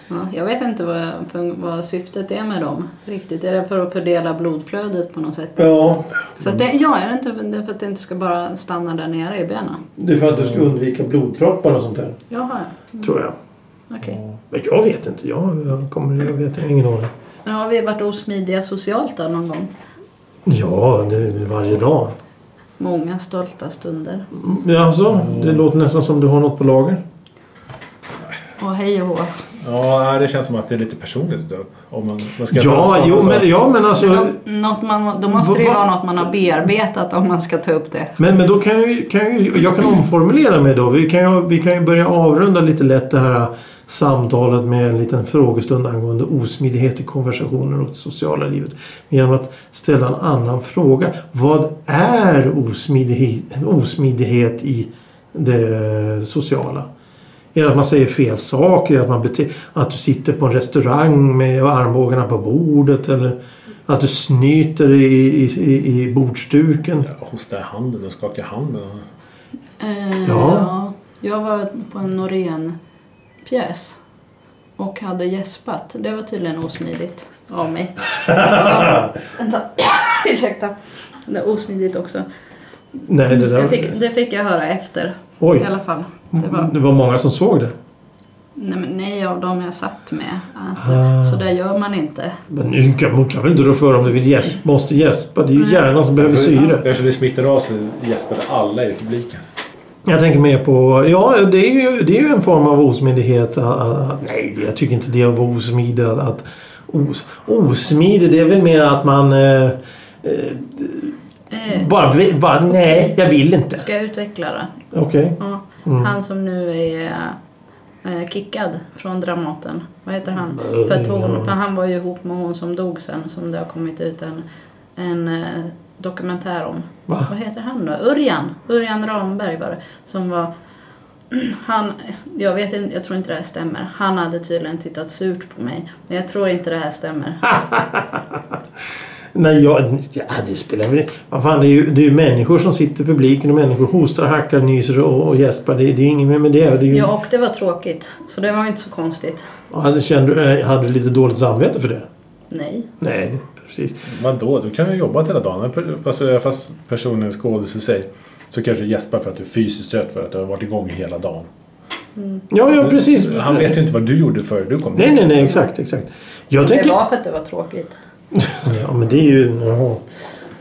[SPEAKER 3] Ja, jag vet inte vad, vad syftet är med dem riktigt. Är det för att fördela blodflödet på något sätt?
[SPEAKER 2] Ja,
[SPEAKER 3] Så att det, ja, är det inte det är för att det inte ska bara stanna där nere i benen?
[SPEAKER 2] det är för att du ska undvika blodproppar och sånt där.
[SPEAKER 3] Jaha,
[SPEAKER 2] Tror jag.
[SPEAKER 3] okej.
[SPEAKER 2] Men jag vet inte. Jag, jag kommer... Jag vet jag har ingen aning.
[SPEAKER 3] Ja, har vi varit osmidiga socialt då någon gång?
[SPEAKER 2] Ja, det är väl varje dag.
[SPEAKER 3] Många stolta stunder.
[SPEAKER 2] Ja, alltså, det låter nästan som du har något på lager.
[SPEAKER 3] Och hej och hå.
[SPEAKER 1] Ja, nej, det känns som att det är lite personligt. Då. Om man, man ska ta upp
[SPEAKER 2] Ja,
[SPEAKER 1] sådana
[SPEAKER 2] jo,
[SPEAKER 1] saker.
[SPEAKER 2] men, ja, men alltså...
[SPEAKER 3] Något man, då måste det ju
[SPEAKER 2] Vad-
[SPEAKER 3] vara något man har bearbetat om man ska ta upp det.
[SPEAKER 2] Men, men då kan jag, ju- kan jag, ju- jag kan omformulera mig då. Vi kan, ju, vi kan ju börja avrunda lite lätt det här äh, samtalet med en liten frågestund angående osmidighet i konversationer och det sociala livet. Genom att ställa en annan fråga. Vad är osmidighet, osmidighet i det sociala? Är det att man säger fel saker? Är det Att, man bete- att du sitter på en restaurang med armbågarna på bordet? Eller att du snyter i, i, i, i bordsduken?
[SPEAKER 1] Ja, Hosta i handen och skaka handen. och-
[SPEAKER 3] Eh,
[SPEAKER 2] Ja.
[SPEAKER 3] Jag var på en Norén-pjäs och hade gäspat. Det var tydligen osmidigt av mig. Ja, Vänta. Ursäkta. Det är osmidigt också.
[SPEAKER 2] Nej, det där...
[SPEAKER 3] Jag fick, det fick jag höra efter i
[SPEAKER 2] Oj,
[SPEAKER 3] alla fall. Det var,
[SPEAKER 2] det var många som såg det.
[SPEAKER 3] nej, men nej av dem jag satt med. Att,
[SPEAKER 2] Ah.
[SPEAKER 3] Så där gör man inte.
[SPEAKER 2] Men nu kan man kan väl inte rå för om du vill gäsp, måste gäspa. Det är ju hjärnan som behöver syre.
[SPEAKER 1] Eftersom det smittar av sig gäspade alla i publiken.
[SPEAKER 2] Jag tänker mer på... Ja, det är ju, det är ju en form av osmidighet. Att, att, att- nej, jag tycker inte det är att vara osmidig. Att, att, os, osmidig, det är väl mer att man... Eh,
[SPEAKER 3] Eh,
[SPEAKER 2] bara, vill- bara nej, jag vill inte.
[SPEAKER 3] ska jag utveckla det?
[SPEAKER 2] Okej.
[SPEAKER 3] Ja.
[SPEAKER 2] Mm.
[SPEAKER 3] Han som nu är eh, kickad från Dramaten. Vad heter han?
[SPEAKER 2] Mm,
[SPEAKER 3] För, att
[SPEAKER 2] ja.
[SPEAKER 3] hon, för han var ju ihop med hon som dog sen som det har kommit ut en, en eh, dokumentär om.
[SPEAKER 2] Va?
[SPEAKER 3] Vad heter han då? Örjan! Örjan Ramberg var det. Som var... Han, jag vet inte, jag tror inte det här stämmer. Han hade tydligen tittat surt på mig. Men jag tror inte det här stämmer.
[SPEAKER 2] Nej, jag, ja, det spelar väl Vad fan, det är ju, det är ju människor som sitter i publiken och människor hostar, hackar, nyser och, och gäspar. Det, det är ju inget mer med det. det är ju,
[SPEAKER 3] Ja, och det var tråkigt. Så det var ju inte så konstigt.
[SPEAKER 2] Hade, kände, eh, hade du lite dåligt samvete för det?
[SPEAKER 3] Nej.
[SPEAKER 2] Nej, det- precis.
[SPEAKER 1] Vadå, du kan ju jobba hela dagen. Per- Fast, fast personen skådis i sig så kanske du gäspar för att du är fysiskt trött för att du har varit igång hela dagen.
[SPEAKER 2] Ja, ja precis.
[SPEAKER 1] Han vet ju inte vad du gjorde före du kom
[SPEAKER 2] Nej, nej, nej, exakt, exakt. Jag
[SPEAKER 3] Det
[SPEAKER 2] tänker...
[SPEAKER 3] var för att det var tråkigt.
[SPEAKER 2] Ja, men det är ju... Jaha.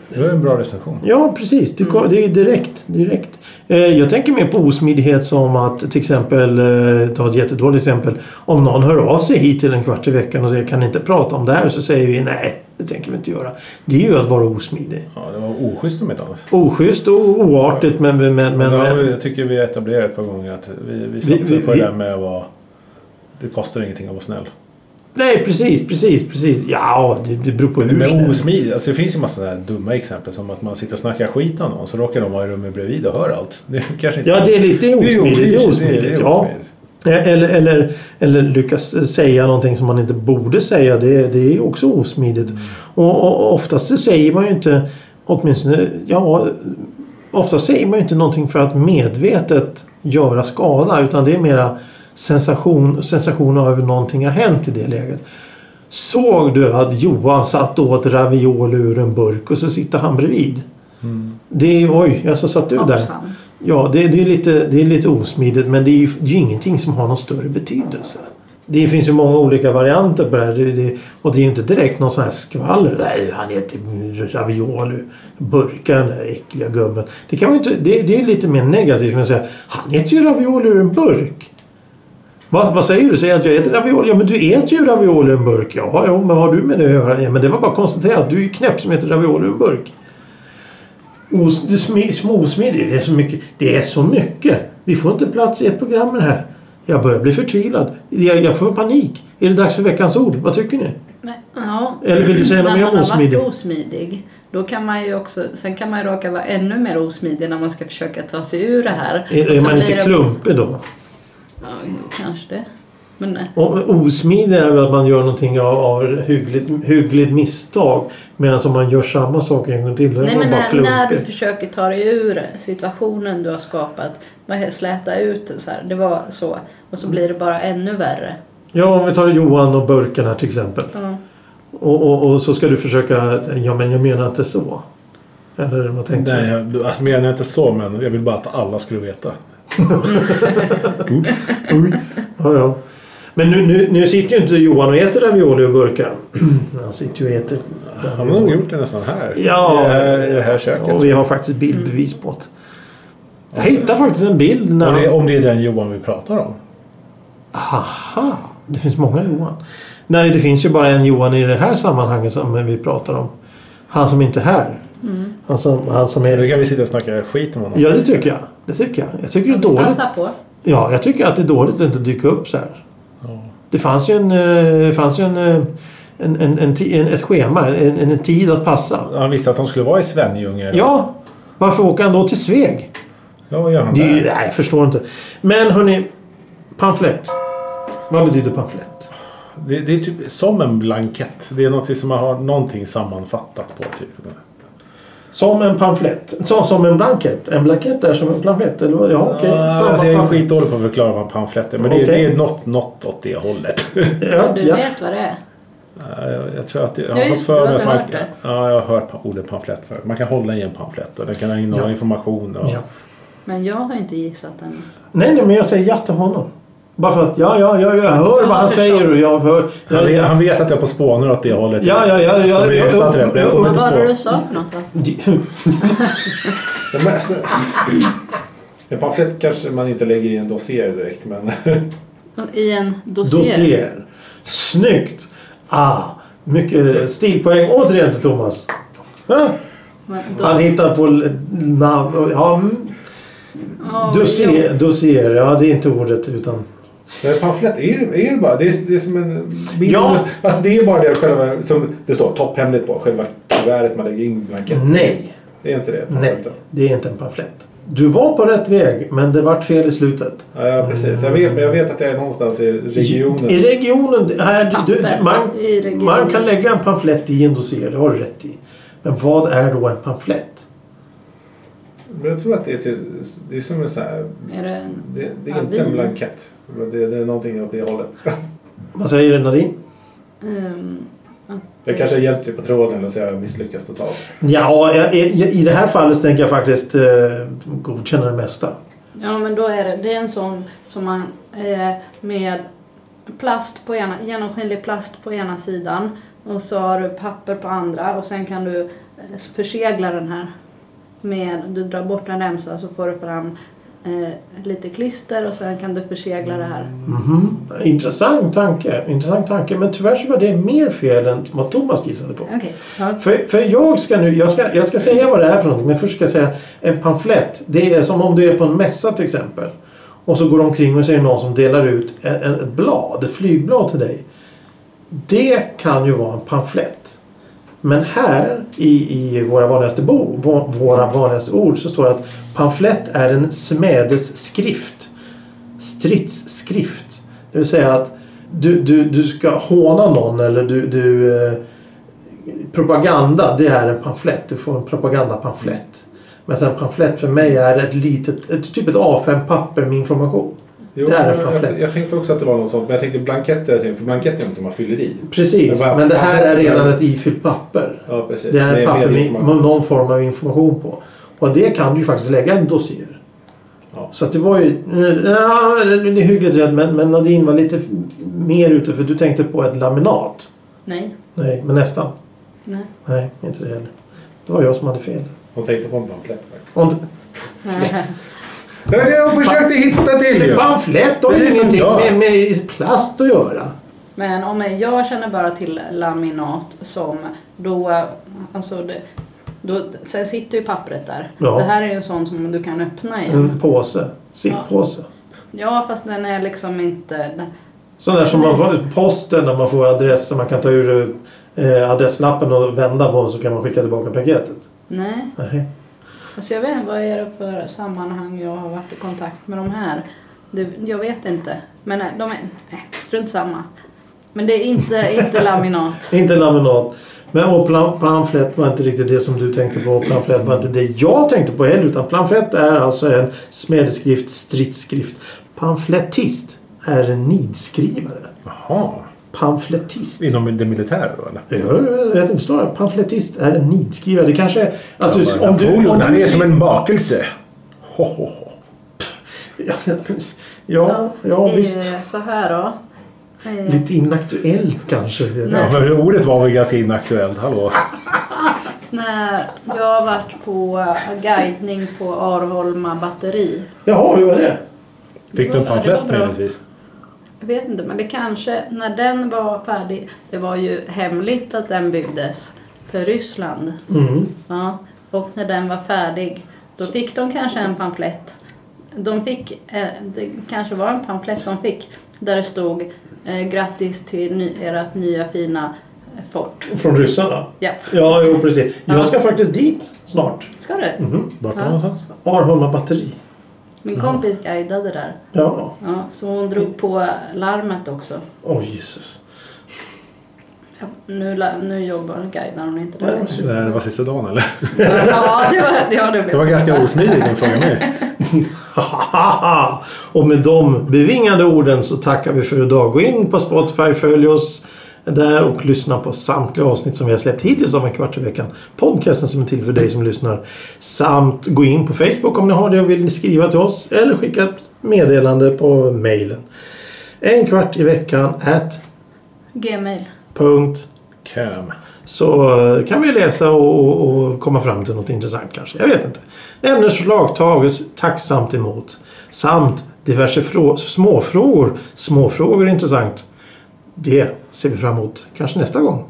[SPEAKER 1] Det var en bra recension.
[SPEAKER 2] Ja, precis. Det,
[SPEAKER 3] Mm.
[SPEAKER 2] ko- det är ju direkt. direkt. Eh, jag tänker mer på osmidighet som att till exempel, eh, ta ett jättedåligt exempel. Om någon hör av sig hit till en kvart i veckan och säger kan ni inte prata om det här? Så säger vi nej, det tänker vi inte göra. Det är ju att vara osmidig.
[SPEAKER 1] Ja, det var oschysst om ett annat.
[SPEAKER 2] Oschysst och oartigt men... men, men, men,
[SPEAKER 1] Men,
[SPEAKER 2] men
[SPEAKER 1] jag tycker vi har etablerat ett par gånger att vi, vi satsar
[SPEAKER 2] vi-
[SPEAKER 1] på det
[SPEAKER 2] vi-
[SPEAKER 1] där med att vara... Det kostar ingenting att vara snäll.
[SPEAKER 2] Nej, precis, precis, precis. Ja, det, det beror på hur
[SPEAKER 1] Men
[SPEAKER 2] snäll-
[SPEAKER 1] osmidigt. Alltså det finns ju massa sådana här dumma exempel. Som att man sitter och snackar skit om någon så råkar de vara i rummet bredvid och hör allt. Det är kanske inte...
[SPEAKER 2] Ja, det är lite osmidigt. Det är
[SPEAKER 1] det är- det
[SPEAKER 2] osmidigt,
[SPEAKER 1] är
[SPEAKER 2] ja. Eh,
[SPEAKER 1] osmidigt.
[SPEAKER 2] Eller, eller, eller lyckas säga någonting som man inte borde säga. Det, det är också osmidigt. Och, och oftast så säger man ju inte åtminstone, ja, oftast säger man ju inte någonting för att medvetet göra skada. Utan det är mera sensation, sensation över någonting har hänt i det läget. Såg du att Johan satt och åt ravioli ur en burk och så sitter han bredvid? Det är ju, oj, alltså satt du där?
[SPEAKER 3] Hoppsan.
[SPEAKER 2] Ja, det, det, är lite, det är lite osmidigt men det är ju det är ju ingenting som har någon större betydelse. Det finns ju många olika varianter på det här. Det, det, och det är ju inte direkt någon sån här skvaller. Nej, han äter ravioli. Burkar den där äckliga gubben. Det, kan man ju inte, det, det är lite mer negativt. Men att säga, han äter ju ravioli ur en burk. Va, vad säger du? Säger du att jag äter ravioli? Ja, men du äter ju ravioli ur en burk. Ja, jo, men vad har du med det att göra? Ja, men det var bara att konstatera att du är ju knäpp som äter ravioli ur en burk. Os, det smi, småsmidigt. Det är, så mycket, det är så mycket. Vi får inte plats i ett program med det här. Jag börjar bli förtvivlad. Jag, jag får panik. Är det dags för veckans ord? Vad tycker ni?
[SPEAKER 3] Nej, ja.
[SPEAKER 2] Eller vill du säga något
[SPEAKER 3] När
[SPEAKER 2] mer
[SPEAKER 3] man har
[SPEAKER 2] osmidigt?
[SPEAKER 3] varit osmidig. Då kan man ju också, sen kan man ju råka vara ännu mer osmidig när man ska försöka ta sig ur det här.
[SPEAKER 2] Är,
[SPEAKER 3] Och
[SPEAKER 2] är
[SPEAKER 3] så
[SPEAKER 2] man
[SPEAKER 3] blir
[SPEAKER 2] inte
[SPEAKER 3] det-
[SPEAKER 2] klumpig då?
[SPEAKER 3] Ja, kanske det. Men eh, nej.
[SPEAKER 2] Och osmidig är väl att man gör någonting av, av hyggligt, hyggligt misstag. Medan om man gör samma sak en gång till då är
[SPEAKER 3] Nej,
[SPEAKER 2] man
[SPEAKER 3] men
[SPEAKER 2] bara
[SPEAKER 3] när,
[SPEAKER 2] klumpig.
[SPEAKER 3] när du försöker ta dig ur situationen du har skapat, bara släta ut så här, det var så, och
[SPEAKER 2] Mm.
[SPEAKER 3] så blir det bara ännu värre.
[SPEAKER 2] Ja, om vi tar Johan och burken här till exempel.
[SPEAKER 3] Ja.
[SPEAKER 2] Och, och, och så ska du försöka... Ja, men jag menar inte så. Eller vad tänkte du?
[SPEAKER 1] Nej, jag, alltså menar jag inte så men jag vill bara att alla skulle veta. Oops.
[SPEAKER 2] Oj. Ja, ja. Men nu, nu, nu sitter ju inte Johan och äter ravioli ur burkar. Han sitter ju och äter
[SPEAKER 1] Han har nog gjort det nästan här.
[SPEAKER 2] Ja.
[SPEAKER 1] I det här köket.
[SPEAKER 2] Och vi har faktiskt bildbevis på det. Jag hittade faktiskt en bild när
[SPEAKER 1] Om det,
[SPEAKER 2] han...
[SPEAKER 1] om det är den Johan vi pratar om.
[SPEAKER 2] Aha! Det finns många Johan. Nej, det finns ju bara en Johan i det här sammanhanget som vi pratar om. Han som inte är här. Han, som, han som
[SPEAKER 1] Nu
[SPEAKER 2] är...
[SPEAKER 1] kan vi sitta och snacka skit om honom.
[SPEAKER 2] Ja, det tycker jag. Det tycker jag. Jag tycker det är dåligt.
[SPEAKER 3] Passa på.
[SPEAKER 2] Ja, jag tycker att det är dåligt att inte dyka upp så här. Det fanns ju en... eh, Det fanns ju en, eh, en, en, en, ti- en ett schema, en, en, en tid att passa.
[SPEAKER 1] Han visste att han skulle vara i Svenljunga.
[SPEAKER 2] Ja, varför åker han då till Sveg?
[SPEAKER 1] Ja, vad gör han
[SPEAKER 2] Det är ju,
[SPEAKER 1] där?
[SPEAKER 2] nej, jag förstår inte. Men hörni, pamflett. Vad betyder pamflett?
[SPEAKER 1] Det, det är typ som en blankett. Det är något som man har någonting sammanfattat på. Typ.
[SPEAKER 2] Som en pamflett. Som, som en blankett. En blankett är som en pamflett. Eller vad? Ja, okej.
[SPEAKER 1] Ah,
[SPEAKER 2] Samma
[SPEAKER 1] alltså jag är
[SPEAKER 2] pamflett.
[SPEAKER 1] skitdålig på att förklara vad en pamflett är. Men det,
[SPEAKER 2] Okej.
[SPEAKER 1] det är något, något åt det hållet.
[SPEAKER 2] Ja,
[SPEAKER 3] Du
[SPEAKER 2] ja.
[SPEAKER 3] vet vad det är.
[SPEAKER 1] Ja, Jag, jag tror att det, jag
[SPEAKER 3] Ja,
[SPEAKER 1] har fått
[SPEAKER 3] just
[SPEAKER 1] för
[SPEAKER 3] det,
[SPEAKER 1] mig
[SPEAKER 3] du
[SPEAKER 1] att
[SPEAKER 3] har
[SPEAKER 1] man,
[SPEAKER 3] hört det.
[SPEAKER 1] ja, jag har hört pa- ordet pamflett förut. Man kan hålla i en pamflett och den kan innehålla
[SPEAKER 2] Ja.
[SPEAKER 1] information. Och,
[SPEAKER 2] Ja.
[SPEAKER 3] Men jag har inte gissat än.
[SPEAKER 2] Nej, nej, men jag säger ja till honom. Bara för att ja, ja, ja, jag hör vad han
[SPEAKER 3] förstår.
[SPEAKER 2] säger och jag hör...
[SPEAKER 1] han,
[SPEAKER 2] Jag,
[SPEAKER 1] vet, han vet att jag är på spånar åt det hållet.
[SPEAKER 2] Ja, ja, ja, ja,
[SPEAKER 1] Så vi
[SPEAKER 2] ja,
[SPEAKER 1] satt
[SPEAKER 2] ja,
[SPEAKER 1] rätt, men jag
[SPEAKER 2] ja,
[SPEAKER 1] kommer
[SPEAKER 3] Vad
[SPEAKER 1] inte
[SPEAKER 3] var
[SPEAKER 1] på.
[SPEAKER 3] det du sa för något? Va?
[SPEAKER 1] Ja, men alltså, En pamflett kanske man inte lägger i en dossier direkt men...
[SPEAKER 3] I en dossier.
[SPEAKER 2] Dossier. Snyggt! Ah, mycket stilpoäng återigen till Thomas. Ah,
[SPEAKER 3] Men
[SPEAKER 2] Han
[SPEAKER 3] dos-
[SPEAKER 2] hittar på l- namn. Ja, mm.
[SPEAKER 3] Ja,
[SPEAKER 2] dossier,
[SPEAKER 3] jo.
[SPEAKER 2] dossier. Ja, det är inte ordet utan...
[SPEAKER 1] Men pamflett är, är det bara. Det är, det är som en...
[SPEAKER 2] Ja.
[SPEAKER 1] Alltså det är bara det själva som det står topphemligt på. Själva kuvertet man lägger in i blanketten.
[SPEAKER 2] Nej,
[SPEAKER 1] Det är inte det.
[SPEAKER 2] nej.
[SPEAKER 1] pamfletten.
[SPEAKER 2] Det är inte en pamflett. Du var på rätt väg, men det vart fel i slutet.
[SPEAKER 1] Ja, precis. Jag vet, men jag vet att jag är någonstans i regionen.
[SPEAKER 2] I regionen, här, du, du,
[SPEAKER 3] Papper.
[SPEAKER 2] man,
[SPEAKER 3] I regionen.
[SPEAKER 2] man kan lägga en pamflett i en dossier, det har du rätt i. Men vad är då en pamflett?
[SPEAKER 1] Men jag tror att det är, till, det är som en sån här...
[SPEAKER 3] Är det en...
[SPEAKER 1] Det, det är
[SPEAKER 3] Ja,
[SPEAKER 1] inte en
[SPEAKER 3] vi-
[SPEAKER 1] blankett. Men det, det är någonting åt det hållet.
[SPEAKER 2] Vad säger Nadine?
[SPEAKER 3] ehm, att-
[SPEAKER 1] Jag kanske har hjälpt dig på tråden eller så har jag misslyckats totalt.
[SPEAKER 2] Ja, jag, jag, i det här fallet så tänker jag faktiskt eh, godkänna det mesta.
[SPEAKER 3] Ja men då är det, det är en sån som man eh, med plast på ena, genomskinlig plast på ena sidan och så har du papper på andra och sen kan du eh, försegla den här med, du drar bort en remsa så får du fram eh, lite klister och sen kan du försegla det här.
[SPEAKER 2] Mhm. Intressant tanke, intressant tanke. Men tyvärr så var det mer fel än vad Thomas gissade på.
[SPEAKER 3] Okej. Ja.
[SPEAKER 2] För, för jag ska nu, jag ska, jag ska säga vad det är för någonting. Men först ska jag säga en pamflett. Det är som om du är på en mässa till exempel. Och så går de omkring och ser någon som delar ut en- en- ett blad, ett flygblad till dig. Det kan ju vara en pamflett. Men här i, i våra, vanligaste bo, vå- våra vanligaste ord så står det att pamflett är en smedes skrift. Stridsskrift. Det vill säga att du, du, du ska håna någon eller du, du eh, propaganda, det är en pamflett. Du får en propagandapamflett. Men sen pamflett för mig är ett litet, ett, typ ett A5-papper med information.
[SPEAKER 1] Jo,
[SPEAKER 2] Det är en
[SPEAKER 1] men
[SPEAKER 2] pamflett.
[SPEAKER 1] jag, jag tänkte också att det var något sånt. Men jag tänkte blanketter, för blanketter är någonting man fyller i.
[SPEAKER 2] Precis,
[SPEAKER 1] Men vad-
[SPEAKER 2] men det här är
[SPEAKER 1] vad-
[SPEAKER 2] redan ett ifyllt papper.
[SPEAKER 1] Ja, precis.
[SPEAKER 2] Det är
[SPEAKER 1] Med-
[SPEAKER 2] ett papper med,
[SPEAKER 1] information.
[SPEAKER 2] med någon form av information på. Och det kan du ju faktiskt lägga en dossier.
[SPEAKER 1] Ja.
[SPEAKER 2] Så att det var ju... Ja, det är hyggligt rätt men, men Nadine var lite f- mer ute för du tänkte på ett laminat.
[SPEAKER 3] Nej.
[SPEAKER 2] Nej, men nästan.
[SPEAKER 3] Nej.
[SPEAKER 2] Nej, inte det heller. Det var jag som hade fel.
[SPEAKER 1] Hon tänkte på en pamflett faktiskt.
[SPEAKER 2] Och inte-
[SPEAKER 1] Det var det jag försökte hitta till ju!
[SPEAKER 2] Pamflett har ju
[SPEAKER 1] Precis som
[SPEAKER 2] ingenting
[SPEAKER 1] jag.
[SPEAKER 2] med, med plast att göra.
[SPEAKER 3] Men om jag känner bara till laminat som då, alltså det, då, sen sitter ju pappret där.
[SPEAKER 2] Ja. Mm.
[SPEAKER 3] Det här är ju en sån som du kan öppna igen.
[SPEAKER 2] En påse. Sittpåse.
[SPEAKER 3] Ja fast den är liksom inte...
[SPEAKER 2] Sån där som man får posten när man får adresser. Man kan ta ur eh, adresslappen och vända på den så kan man skicka tillbaka paketet.
[SPEAKER 3] Nej.
[SPEAKER 2] Nej.
[SPEAKER 3] Alltså jag vet inte vad är det för sammanhang jag har varit i kontakt med de här. Det, jag vet inte. Men nej, de är... Nej, strunt samma. Men det är inte, inte laminat.
[SPEAKER 2] Inte laminat. Men och plan- pamflett var inte riktigt det som du tänkte på. Pamflett var inte det jag tänkte på heller. Utan pamflett är alltså en smedeskrift, stridsskrift. Pamflettist är en nidskrivare.
[SPEAKER 1] Jaha.
[SPEAKER 2] Pamflettist.
[SPEAKER 1] Inom det militära då eller?
[SPEAKER 2] Ja, Jag vet inte snarare. Pamflettist är en nidskrivare. Det kanske är att du... Om du, om du
[SPEAKER 1] en bakelse. Ho, ho, ho.
[SPEAKER 2] Ja, ja, ja visst.
[SPEAKER 3] Eh, Så här då. Eh,
[SPEAKER 2] Lite inaktuellt kanske.
[SPEAKER 3] Nej.
[SPEAKER 1] men ordet var väl ganska inaktuellt, hallå?
[SPEAKER 3] När jag har varit på eh, guidning på Arholma batteri.
[SPEAKER 2] Jaha, hur var det?
[SPEAKER 1] Fick du en
[SPEAKER 3] Det var- det
[SPEAKER 1] pamflett
[SPEAKER 3] var bra.
[SPEAKER 1] möjligtvis?
[SPEAKER 3] Jag vet inte, men det kanske, när den var färdig, det var ju hemligt att den byggdes för Ryssland.
[SPEAKER 2] Mm.
[SPEAKER 3] Ja, och när den var färdig, då fick de kanske en pamflett. De fick, eh, det kanske var en pamflett de fick, där det stod eh, grattis till ny, ert nya fina eh, fort.
[SPEAKER 2] Från ryssarna?
[SPEAKER 3] Ja,
[SPEAKER 2] Ja, jo precis. Jag ska faktiskt dit snart.
[SPEAKER 3] ska du?
[SPEAKER 1] Vart då
[SPEAKER 3] Ja.
[SPEAKER 1] någonstans?
[SPEAKER 2] Arholma batteri.
[SPEAKER 3] Min kompis guidade där.
[SPEAKER 2] Ja.
[SPEAKER 3] Ja, så hon drog på larmet också.
[SPEAKER 2] Åh Jesus.
[SPEAKER 3] Ja, Nu, la- nu jobbar guidar hon inte
[SPEAKER 2] Det här
[SPEAKER 3] där.
[SPEAKER 2] var
[SPEAKER 1] Eh, Det
[SPEAKER 2] synd.
[SPEAKER 1] här var sista dagen eller?
[SPEAKER 3] Ja, det var, ja, det blev
[SPEAKER 1] Det var ganska osmidigt att fråga mig.
[SPEAKER 2] Hahaha. Och med de bevingade orden så tackar vi för idag. Gå in på Spotify, följ oss där och lyssna på samtliga avsnitt som vi har släppt hittills av En Kvart i Veckan. Podcasten som är till för dig som lyssnar. Samt gå in på Facebook om ni har det och vill skriva till oss. Eller skicka ett meddelande på mejlen. En kvart i veckan at
[SPEAKER 3] Gmail.
[SPEAKER 2] punkt.
[SPEAKER 1] Cam.
[SPEAKER 2] Så eh, kan vi läsa och, och, och komma fram till något intressant kanske. Jag vet inte. Ämnesförslag tages tacksamt emot. Samt diverse frå- småfrågor. Småfrågor är intressant. Det ser vi fram emot. Kanske nästa gång.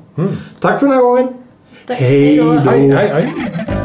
[SPEAKER 2] Tack för den här gången.
[SPEAKER 3] Tack,
[SPEAKER 2] Hej
[SPEAKER 3] hej då.
[SPEAKER 2] då.
[SPEAKER 1] Hej, hej, hej.